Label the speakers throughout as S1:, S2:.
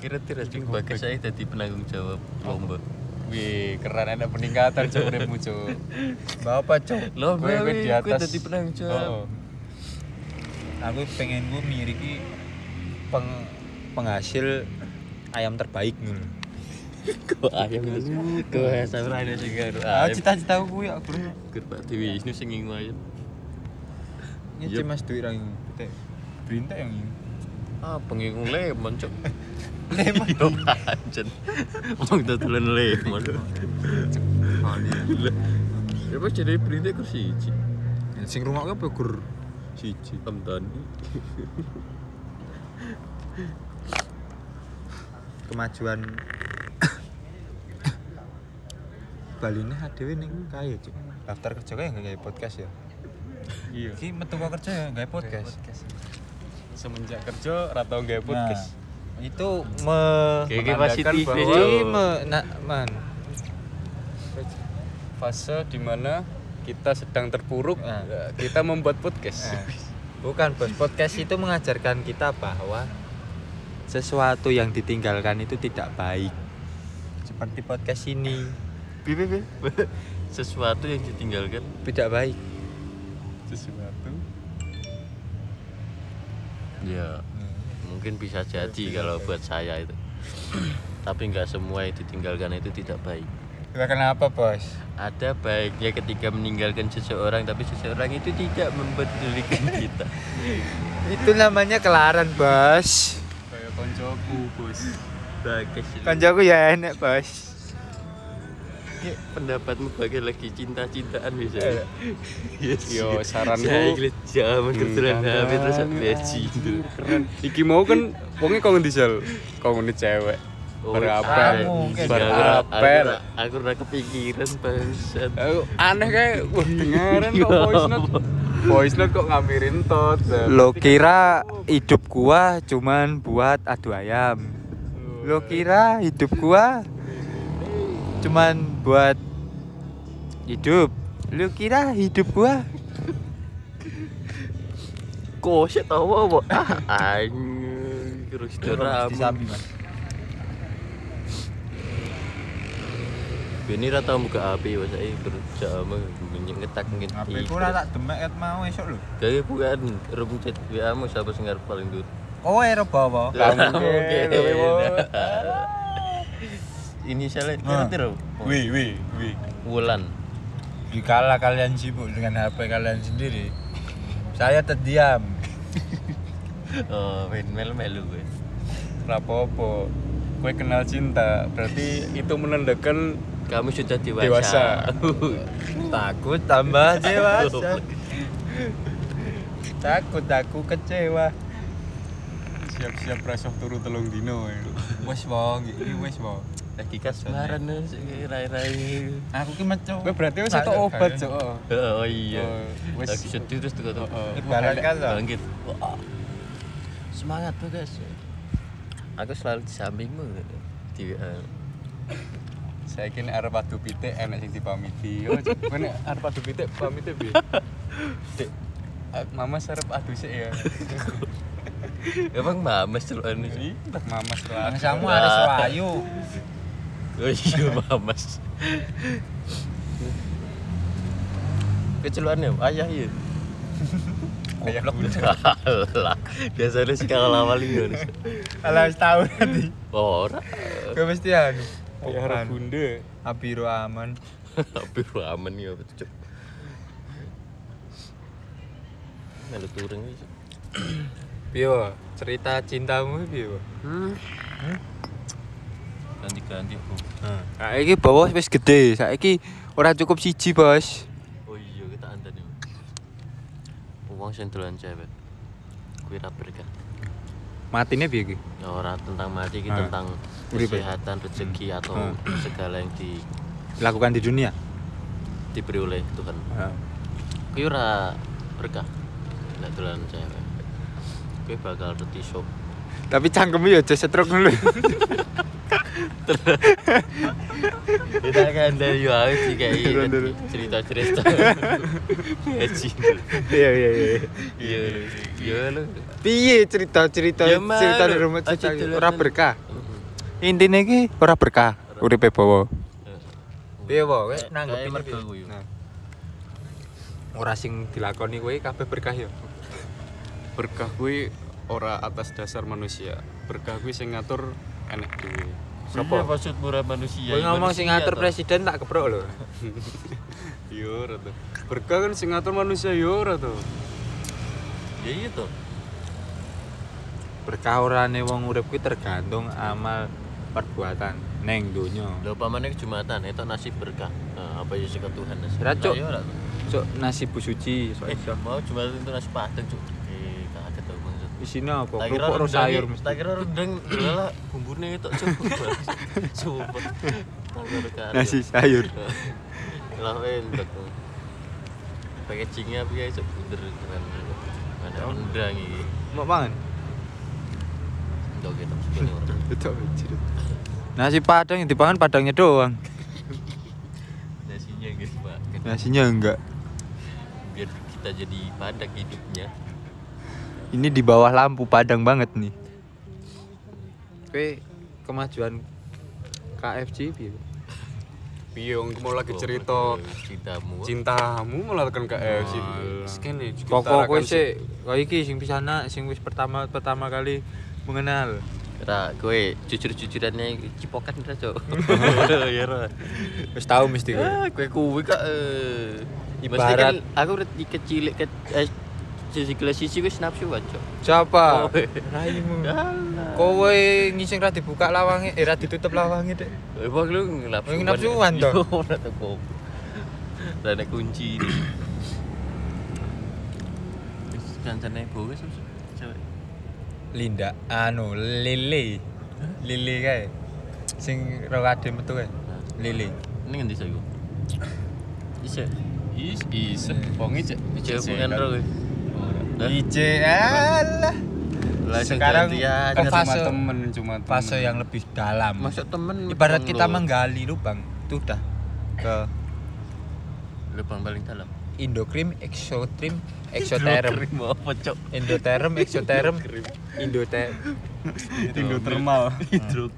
S1: Kira tiras Bing Bagas saya jadi penanggung jawab lomba.
S2: Wih, keren ada peningkatan cuk uripmu cuk. Bapak cuk.
S1: Loh,
S2: Kowe- kowe
S1: weh,
S2: di
S1: kowe
S2: atas.
S1: dadi penanggung jawab.
S2: Oh,
S3: aku pengen gue miriki peng penghasil ayam terbaik nih
S1: Kok ayam itu? Kok asam rada sing karo
S3: ah
S1: ayam.
S3: cita-cita gue ya aku
S1: Gur Pak Dewi Wisnu sing ngingu ayam.
S3: ini
S1: Yup.
S3: cuma duit orang ini Betek. berintek yang ini
S1: Ah, pengingu lemon cuk. Lemon yo pancen. Wong dodolan lemon. Gila. Ya pas jadi perintah kursi siji.
S3: Ya, sing rumah gue pegur
S1: Siji temen
S3: kemajuan Bali ini hadewe ning kaya cuk daftar kerja kaya nggak kayak podcast ya
S2: Iya.
S3: Ki metu kok kerja ya nggak podcast
S2: Semenjak kerja ora tau gawe podcast.
S3: Nah, itu me
S1: Kayak kayak
S3: menandakan
S1: positif
S3: bahwa-
S1: nih, Cuk.
S3: Ini me- na- man.
S1: Nah.
S2: Fase di mana kita sedang terpuruk,
S1: Nah.
S3: Ah.
S2: kita membuat podcast.
S3: Nah, bukan bos podcast itu mengajarkan kita bahwa sesuatu yang ditinggalkan itu tidak baik seperti podcast ini
S1: Sesuatu yang ditinggalkan
S3: tidak baik
S2: Sesuatu.
S1: ya
S2: Iya.
S3: Hmm.
S1: mungkin bisa jadi kalau buat saya itu tapi nggak semua yang ditinggalkan itu tidak baik
S3: Ya, kenapa bos
S1: ada baiknya ketika meninggalkan seseorang tapi seseorang itu tidak mempedulikan kita
S3: itu namanya kelaran bos
S2: Kayak koncoku, Bos.
S1: bagus
S3: Kancaku ya enak, Bos.
S1: Ya, pendapatmu bagai lagi cinta-cintaan bisa
S2: Iya.
S1: yes.
S2: Yo, saranku- Hmm.
S1: saya kira jaman kebetulan
S2: Cinta
S1: HP terus aku
S2: dan
S1: lihat cinta
S2: Keren. Iki mau kan wonge kok ngendi Jal? Kok ngendi cewek.
S1: Oh,
S2: Berapel.
S3: kamu, kayak
S2: Berapel.
S1: berapel aku udah kepikiran bangsat
S2: Aku aneh kayak wah dengerin kok voice note. Voice note kok ngambilin tot.
S3: Lo kira hidup gua cuman buat adu ayam. Lo kira hidup gua cuman buat hidup. Lo kira hidup gua
S1: kok sih tau apa ah anjing terus drama ini rata buka HP wah saya kerja sama ngetak ngetik
S3: tak demek ket mau esok lo.
S1: Dari bukan room chat WA mu siapa sing arep paling dur
S3: Kowe Oh, ro bawa.
S1: Lah,
S2: mungkin.
S1: ini saya
S3: Nah.
S1: ngerti loh
S3: Wih, wih, wih.
S1: Wulan
S3: Dikala kalian sibuk dengan HP kalian sendiri, saya terdiam.
S1: oh main mel melu gue
S2: Rapopo. Kue kenal cinta, berarti itu menandakan
S1: kamu sudah dewasa,
S2: Dewasa.
S3: Takut tambah dewasa. Takut aku kecewa.
S2: siap-siap rasa turu telung dino. ya.
S3: Wes wong, iki wes wong.
S1: lagi kasmaran rai rai
S3: Eh, Aku Nah, ki metu.
S2: Kue berarti wis itu obat, Cuk. oh.
S1: oh iya
S2: Oh, wes.
S1: lagi sedih terus tuh tuh
S2: Oh,
S3: Lebaran kan toh.
S1: bangkit Wah. semangat bagas aku selalu di sampingmu di eh, WA.
S2: Saya kini arep adu pitik enak sing dipamiti. Oh, Cuk, kue nek arep adu pitik pamite piye? Dek, a- mama serep adu sik ya.
S1: emang mamas celukan
S2: Ih, tak mama serep.
S3: Bangsamu
S1: Wah.
S3: ada swayu.
S1: oh iya mamas keceluan ya ayah ya
S2: Kayak budak.
S1: Alah, biasanya sih kalau awal ini harus.
S3: Ala wis tau tadi.
S1: Ora,
S3: Gue mesti anu.
S2: Kayak arep bunda.
S3: Abiro aman.
S1: tapi ramen ya cuk. Melu turun iki. Cuk.
S3: Piye, Wo? cerita cintamu piye, Wo?
S1: Ganti-ganti bu.
S3: Hmm. Saiki bawa Nah, wis gede, saiki ora cukup siji, Bos.
S1: Oh iya kita anteni. Uang sing dolan cewek. Kuwi ra berkah.
S3: Matine piye ki?
S1: Ya, Ora tentang mati iki
S3: Ah.
S1: tentang
S3: Urip ya?
S1: kesehatan, rezeki atau
S3: Ah.
S1: segala yang di,
S3: Lakukan di dunia.
S1: diberi oleh Tuhan.
S3: Hmm.
S1: Kuwi ora berkah. Nek dolan cewek. Kuwi bakal reti sok
S3: Tapi cangkemmu ya aja setruk dulu.
S1: kita akan dari awal sih kayak
S3: Turun, turun.
S1: cerita cerita ya cinta
S3: Iya, iya, iya.
S1: iya
S2: Iya lu.
S3: piye cerita cerita
S1: Ya, Mas.
S3: cerita di rumah
S1: Aja
S3: cerita
S1: dolanan.
S3: ora berkah intinya ki ora berkah uripe bawa Nah. piye wo
S1: Kayak- kayak mergo Nah. aku yo.
S3: ora sing dilakoni kowe kabeh berkah ya. yo
S2: Berkah kuwi ora atas dasar manusia. Berkah kuwi sing ngatur enek dhewe.
S1: Siapa maksud murah manusia?
S3: kowe ngomong sing ngatur
S1: pres.
S3: presiden tak keprok lho
S2: Yo ora tuh. Berkah kan sing ngatur manusia yo ora tuh.
S1: Ya iya toh.
S3: berkah orane wong urip kuwi tergantung amal perbuatan neng donya
S1: Lho pamane ke Jumatan itu nasib berkah. Nah, apa ya sik Tuhan nasib.
S3: Ra, Cuk.
S1: Lah, ya ora, Cuk.
S3: sok nasi bu suci sok
S1: Eh,
S3: iso
S1: mau Jumatan itu nasi padang, Cuk. Eh, kaget aku maksud.
S3: isine apa
S1: Tak kira
S3: kerupuk ro
S1: rendang-
S3: sayur
S1: Tak
S3: mesti
S1: kira rendang lala bumbune itu, Cuk. Coba.
S3: nasi sayur
S1: Lah enak. Packagingnya piye, Cuk? Bener keren. Ada rendang iki.
S3: mau mangan
S1: Enggak gitu, sebenarnya orang.
S2: Itu anjir.
S3: nasi Nah, padang yang dipangan padangnya doang
S1: Nasinya guys, Pak.
S3: nasinya Nah, enggak
S1: Biar kita jadi padak hidupnya.
S3: ini di bawah lampu padang banget nih oke kemajuan KFC piye?
S2: Piung mau lagi cerita
S1: cintamu.
S2: cintamu melakukan KFC.
S3: Alah.
S2: Sekene
S3: Koko kowe sih, kowe iki sing pisana sing wis pertama pertama kali mengenal.
S1: Ra, kowe jujur-jujurannya cipokan ra, Cok. Ya ra.
S3: Wis tahu mesti kowe.
S1: Ah, Kowe kuwi kok eh mesti kan
S3: Ibarat-
S1: aku udah kecil ke eh, sisi kelas sisi wis nafsu kan, Cok.
S3: Siapa?
S1: Kowe.
S3: Raimu.
S1: Alah.
S3: Kowe ngising ra dibuka lawange, eh ra ditutup lawange, Dek.
S1: Eh, Bang lu nafsu.
S3: Lu nafsuan, toh?
S1: Ora tak kok. Lah nek kunci ini. Wis kancane boges wis. Cewek.
S3: Linda anu Lili. Lili kae. Sing ro ade metu kae. Lili.
S1: Nah, Ini ngendi saya iku? Isek.
S2: Is is bongi cek.
S1: Cewek Iya, bukan ro kowe. Lah,
S3: alah.
S1: Iya, Lah ya,
S3: Sekarang
S1: gantian.
S3: ke
S2: Kan cuma
S3: Eh, fase-
S2: temen cuma temen.
S3: Fase yang lebih dalam.
S1: Masuk temen
S3: Ibarat
S1: temen
S3: kita
S1: lo.
S3: menggali lubang, itu udah ke
S1: lubang paling dalam
S3: endokrim, exotrim,
S1: Lu
S3: exoterm.
S1: krim apa cok
S3: Endoterm, exoterm, endoterm.
S2: Indo thermal.
S1: hidro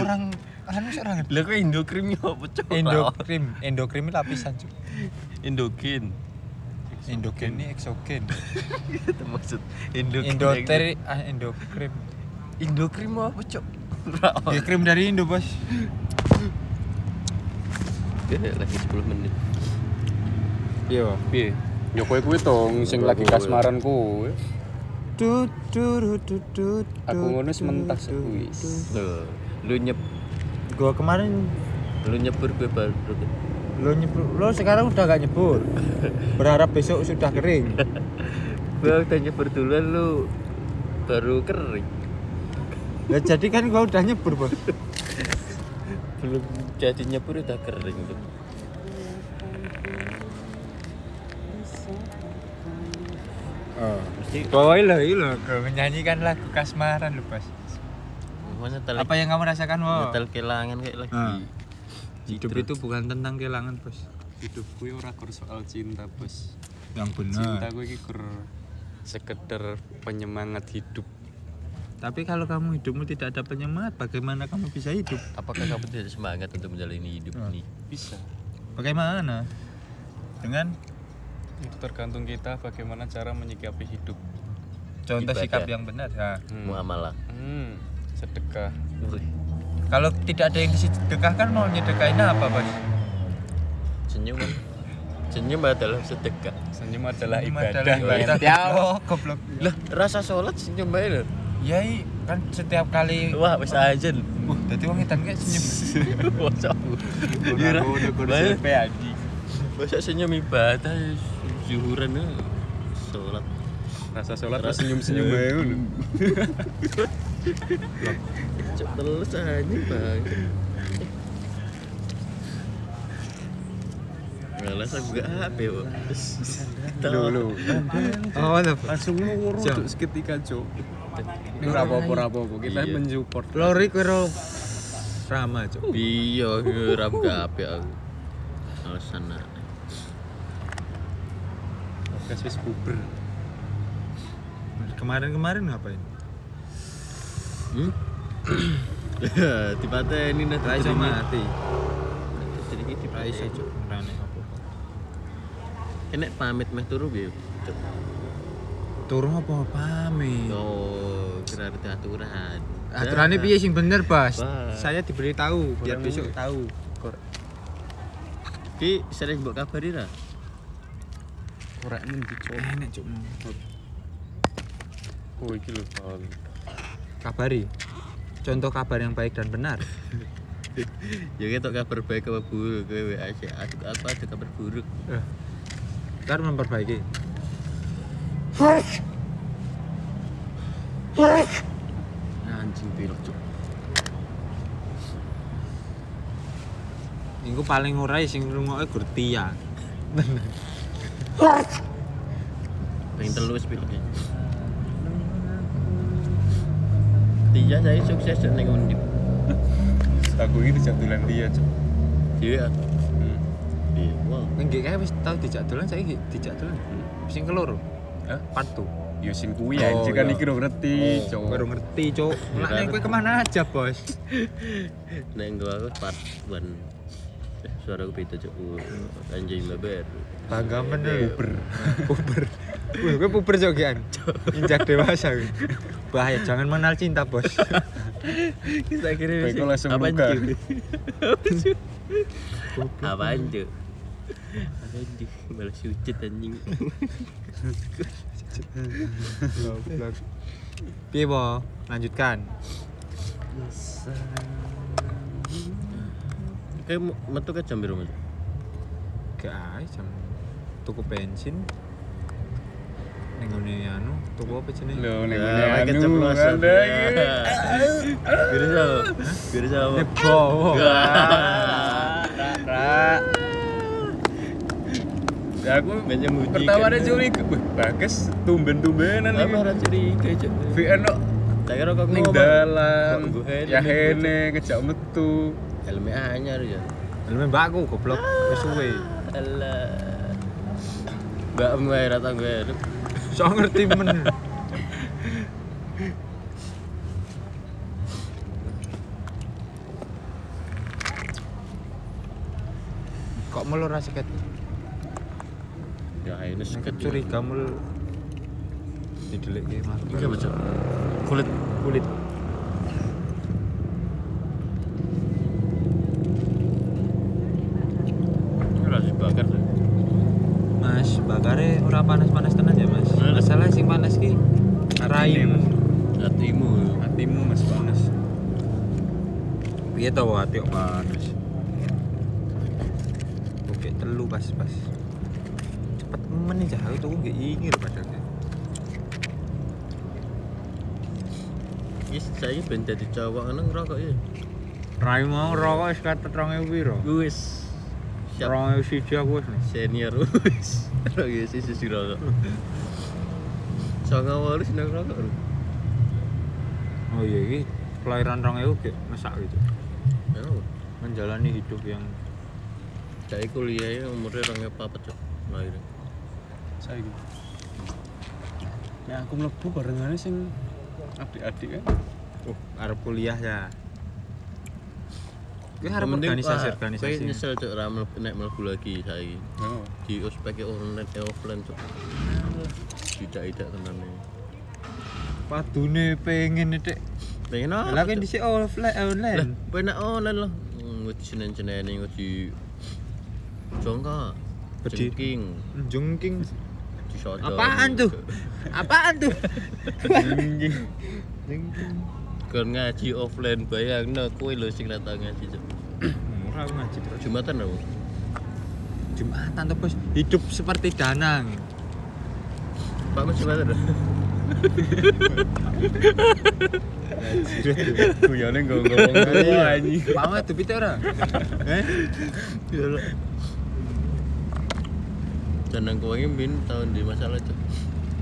S3: orang anu sih orang
S1: lah kok endokrimnya apa cok oh.
S3: endokrim, endokrim ini lapisan cuy.
S1: endokin
S3: Endogen ini exogen.
S1: itu maksud endokin
S3: Endoteri, ah endokrim.
S1: endokrim apa cok oh.
S3: Endokrim dari Indo bos.
S1: lagi 10 menit
S3: Iya.
S2: Piye? Ya kowe kuwi tong sing lagi kasmaran kowe. Aku ngono sementak wis.
S1: Loh, lu nyep
S3: Gua kemarin
S1: lu nyebur gue baru
S3: lo nyebur, lo sekarang udah gak nyebur. Berharap besok sudah kering.
S1: gue udah nyebur duluan lu baru kering
S3: Ya jadi kan gua udah nyebur bos.
S1: belum jadi nyebur udah kering tuh
S2: Oh.
S1: mesti
S3: Bawa lo, lo menyanyikan lagu kasmaran lo bos.
S1: mau nyetel
S3: Apa yang kamu rasakan wo?
S1: nyetel kelangan kayak lagi
S3: Oh. Ah. Hidup
S1: Citra.
S3: itu bukan tentang kehilangan bos.
S2: Hidup kuwi ora gur soal cinta, Bos.
S3: Yang
S2: Cinta kuwi iki gur sekedar penyemangat hidup.
S3: Tapi kalau kamu hidupmu tidak ada penyemangat, bagaimana kamu bisa hidup?
S1: Apakah kamu tidak semangat untuk menjalani hidup ini?
S2: Bisa.
S3: Bagaimana? Dengan
S2: Itu tergantung kita bagaimana cara menyikapi hidup.
S3: contoh
S1: Ibadah.
S3: sikap yang benar. ya.
S1: Muamalah.
S2: Hmm, sedekah.
S1: Wih,
S3: Kalau tidak ada yang disedekahkan mau nyedekahin apa, Bos?
S1: senyum. Senyum adalah sedekah.
S2: Senyum adalah
S3: Ini
S2: ibadah.
S3: adalah ibadah.
S2: Bang.
S3: Ya, oh, goblok.
S1: Lah, rasa sholat senyum bae lho.
S3: Ya, i, kan setiap kali
S1: Wah, wis ajen.
S3: Wah, dadi wong edan kayak senyum.
S1: Masa
S2: Gur
S1: Iya,
S2: aku udah gur
S1: Bang.
S2: SMP Adi.
S1: masa senyum ibadah zuhuran ya. sholat.
S2: Rasa sholat terus senyum-senyum bae lho.
S1: Cok telus aja, Bang. Malah saya buka HP, Bang.
S2: Lho lho.
S3: Oh, lho.
S2: Langsung nguru
S3: Cok.
S2: cuk seketika cuk. Ora apa-apa ora apa-apa. Kita
S1: Iya.
S2: mensupport.
S3: Lori kowe ro Rama, Cuk.
S1: Iya, ora buka HP aku. Alasan nah.
S2: Podcast wis buber.
S3: Mergo kemarin-kemarin ngapain?
S1: Hmm? Dipateni nek
S3: Ra iso mati.
S1: Jadi iki
S3: Ra iso cuk, ra nek apa.
S1: Enek pamit meh turu piye? Cuk.
S3: Turu apa pamit?
S1: Oh, kira ada aturan.
S3: Iya. Aturannya piye sing bener, Bas?
S1: Bas.
S3: Saya diberitahu biar
S1: Kurang
S3: besok
S1: ini.
S3: tahu.
S1: Ki sering mbok kabari ra?
S2: Korek mending
S3: Enak cuk.
S2: Oh iki lho Paul.
S3: Kabari. Contoh kabar yang baik dan benar.
S1: Ya ketok kabar baik apa buruk kowe WA sih. Aku aku ada kabar buruk.
S3: Eh. Ntar memperbaiki.
S2: Anjing pilek cuk.
S3: Iku paling ora sing rungoke Gurtia.
S1: Pengen telu wis pilek. Tiga Iya, saya sukses dan ning undip.
S2: Aku ini jatulan dia cuk.
S1: Dewe aku.
S2: Hmm.
S1: Iya. Wow.
S3: Nggih kae wis tau dijak dolan saiki dijak dolan. Sing keloro.
S2: Hah?
S3: Part two.
S2: Yo sing kuwi
S3: Oh,
S2: anjing kan
S3: iya.
S2: iki lho ngerti
S1: Oh,
S2: cuk.
S3: Baru ngerti, Cuk. Lah nek kowe kemana aja, Bos?
S1: Nek nggo aku part 1. Suara aku beda cuk. Oh, Anjing babar.
S3: Bangga meneh.
S2: Uber.
S3: puber Wih, gue puber jogean injak dewasa gue bahaya jangan mengenal cinta bos
S1: Kita akhirnya
S2: Baik, kok langsung
S1: Apaan,
S2: luka.
S1: Cuk? Apaan cuk? Apaan cuk? Malah sujud anjing.
S3: piye Bo? lanjutkan
S1: Kayak mu- metu ke jam biru Cuk?
S3: guys jam tuku bensin nenggone anu tuku apa jenenge
S2: Lho nek ngene
S1: Nah,
S2: anu.
S1: keceplosan.
S2: ada iki.
S1: Biru sama. Biru sama.
S3: Eh, nebo Ah.
S2: Ya aku
S1: Banyak muji,
S2: pertama
S1: kan?
S2: ada curiga. Wah, bagus tumben-tumbenan
S1: Apa
S2: iki.
S1: ora curiga cuk?
S2: VN kok
S1: Tak kira kok
S2: ning
S1: ngomong.
S2: dalan.
S1: Kok nggoen,
S2: Ya
S1: ning
S2: hene ngejak metu.
S1: Helme anyar ya.
S3: lu mbakku goblok wis suwe
S1: Alah. Mbak gue rata gue.
S3: so ngerti men kok melu ra seket
S1: Ya ini seket
S3: seket curiga melu didelik ke mas
S1: Iki apa cuk? Kulit
S3: kulit
S1: ora dibakar Cuk.
S3: mas bakare ora panas-panas tenan ya mas
S1: Ora.
S3: masalah sing panas ki
S2: Ini,
S3: raimu
S2: Mas.
S1: Hatimu.
S2: Hatimu Mas Panas.
S3: piye to ati kok panas oke telu pas-pas cepet men nih jahe tuh gak ingin padahal
S1: Wis saiki ben dadi cowok ngono ngerokok ya.
S3: Rai mau rokok wis katet 2000 piro?
S1: Wis. Siap.
S3: 2000 siji aku wis. Mas.
S1: senior wis ora ya sih sisi rokok Sanga walu seneng rokok lho.
S3: Oh iya iki kelahiran 2000 ge mesak gitu.
S1: Ya, lho.
S3: Menjalani hidup yang
S1: Saya kuliah ya umurnya orangnya papat cok lahir.
S2: Saiki. Nek aku mlebu barengane sing adik-adik kan.
S3: oh arep kuliah ya. Gue harap
S1: Yang penting,
S3: organisasi
S1: wah,
S3: organisasi.
S1: Saya ah, nyesel cok ra mlebu- nek mlebu lagi saya
S2: Oh.
S1: di ospek online eh, offline cok. Tidak tidak tenan e.
S3: Padune pengen nek.
S1: Pengen
S2: Ah,
S3: Lah
S1: apa?
S3: kan
S1: Cok?
S3: dhisik offline
S1: Lah,
S3: online.
S1: penak online Hmm, lho. Nguji cenen-cenene nguji jongka.
S3: Bedi.
S1: Jengking.
S3: Jungking.
S1: disodong.
S3: Apaan tuh? Apaan tuh?
S2: Anjing.
S3: Jungking.
S1: Kon ngaji offline bayangno kowe lho sing datang ngaji cok.
S3: Murah aku ngaji bro.
S1: Jumatan lho.
S3: Jumatan tuh bos hidup seperti danang.
S1: Pak Mas Jumatan lho.
S2: Guyone nggonggong
S3: Iya,
S2: anjing.
S3: Mama tuh pite ora? Eh?
S1: Iya Jeneng kowe iki bin tahun di masalah cok.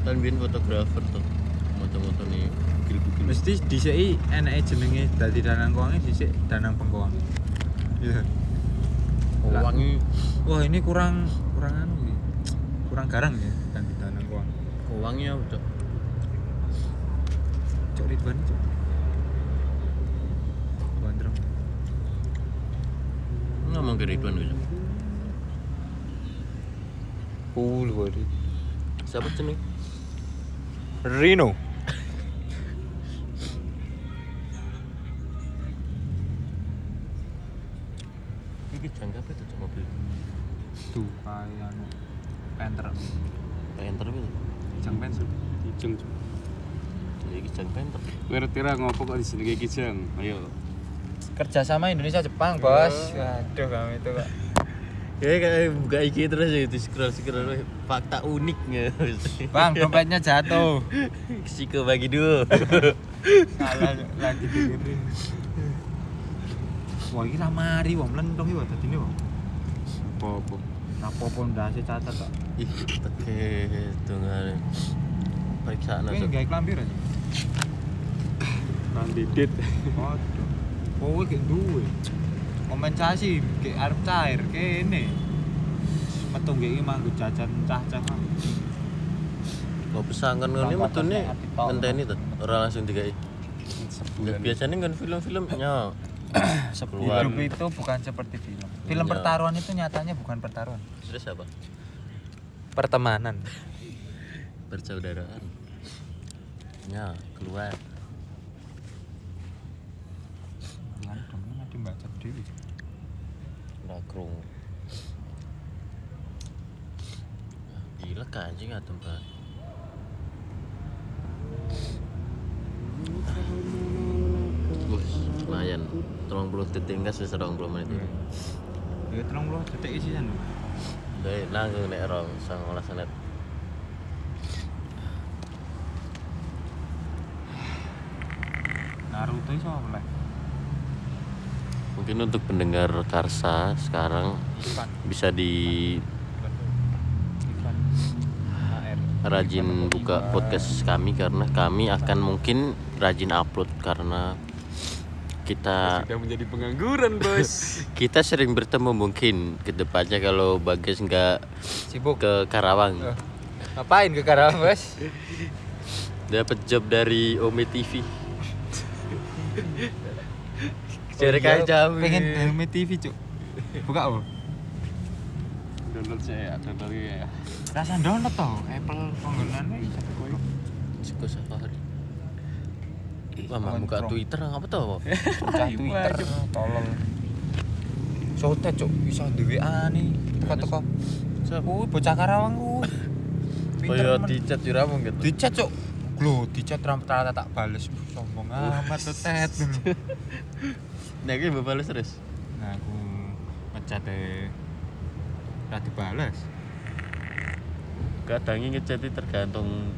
S1: Kan bin fotografer tuh. Moto-moto nih gil-gil.
S3: mesti dhisiki enake jenenge dadi danang koange dhisik danang pengkoang. Iya. Lah.
S1: Wangi
S3: Wah, ini kurang kurang anu iki. Kurang garang ya dan danang koang.
S1: Wangi apa cok?
S2: cok Ridwan cok gondrong
S1: ngomong ke Ridwan gitu
S3: Cool gue
S1: siapa jenis
S3: Rino
S1: ini jangka apa itu Cok, mobil
S2: tuh kayak anu penter
S1: pengen terbit
S2: jang pensil
S4: Kijang.
S1: ini jang penter
S4: Kowe ngerti ra ngopo kok dijenenge Kijang? Ayo.
S3: kerjasama Indonesia Jepang bos Oh. waduh kamu itu kok
S1: ya kayak buka IG terus ya di scroll scroll fakta unik nggak
S3: bang dompetnya jatuh
S1: Siko bagi dua
S3: kalah lagi dengerin wah ini ramari wah melendong ya tadi ini wah
S4: Apa-apa.
S3: Rapopo ndase cacat kok.
S1: ih oke hitungan periksaan
S3: Kowe
S1: aja
S3: gawe klambir aja.
S4: Kandidit.
S3: Waduh. Kowe Oh, gak duwe. Kompensasi gak arep cair kene. Metu gak iki manggo jajan cah-cah.
S1: nggak pesankan kan ini
S3: Tambah
S1: metune
S3: tasnya ati tok.
S1: ngenteni tuh orang langsung tiga biasanya kan film-film nyok Keluar.
S3: Hidup itu bukan seperti film.
S1: Iya.
S3: Film pertaruhan itu nyatanya bukan pertaruhan.
S1: terus apa
S3: Pertemanan.
S1: persaudaraan ya keluar
S3: Landungnya ada Mbak Cat Dewi.
S1: nakrung gila anjing nggak tempat Wih, lumayan tolong puluh detik enggak sih serong puluh menit itu
S3: Ya tolong lo detik isi kan.
S1: Jadi langsung nek rong sang olah senet
S3: Naruto iso oleh.
S1: mungkin untuk pendengar Karsa sekarang
S3: Ivan.
S1: bisa di
S3: Ivan. HR.
S1: rajin buka podcast kami karena kami akan mungkin rajin upload karena kita
S4: Sudah menjadi pengangguran, Bos.
S1: kita sering bertemu mungkin kedepannya kalau Bagas nggak
S3: Sibuk. Eh,
S1: ke Karawang
S3: Ngapain ke Karawang, Bos?
S1: dapat job dari Ome TV Jarak
S4: Iya.
S1: aja jauh.
S3: Oh iya. Pengen Helmi TV, Cuk. Buka oh. apa?
S4: Download saya, download ya.
S3: Rasa download toh, Apple penggunaannya bisa
S1: Suka Safari Mama
S3: Kawan
S1: buka
S3: Chrome.
S1: Twitter apa tuh?
S3: Buka Twitter, tolong. Sotet, Cuk, bisa duwe ane. Teko-teko.
S1: Siapa?
S3: Kuwi bocah Karawang kuwi.
S1: Kayak
S3: Pinter men.
S1: di gitu. chat curam mungkin.
S3: dicat, Cuk. Loh, dicat rata-rata tak bales. Sombong amat tetet.
S1: Nah, gue balas terus.
S3: Nah, aku ngecat e. Ra dibales.
S1: Kadangnya ngechat itu tergantung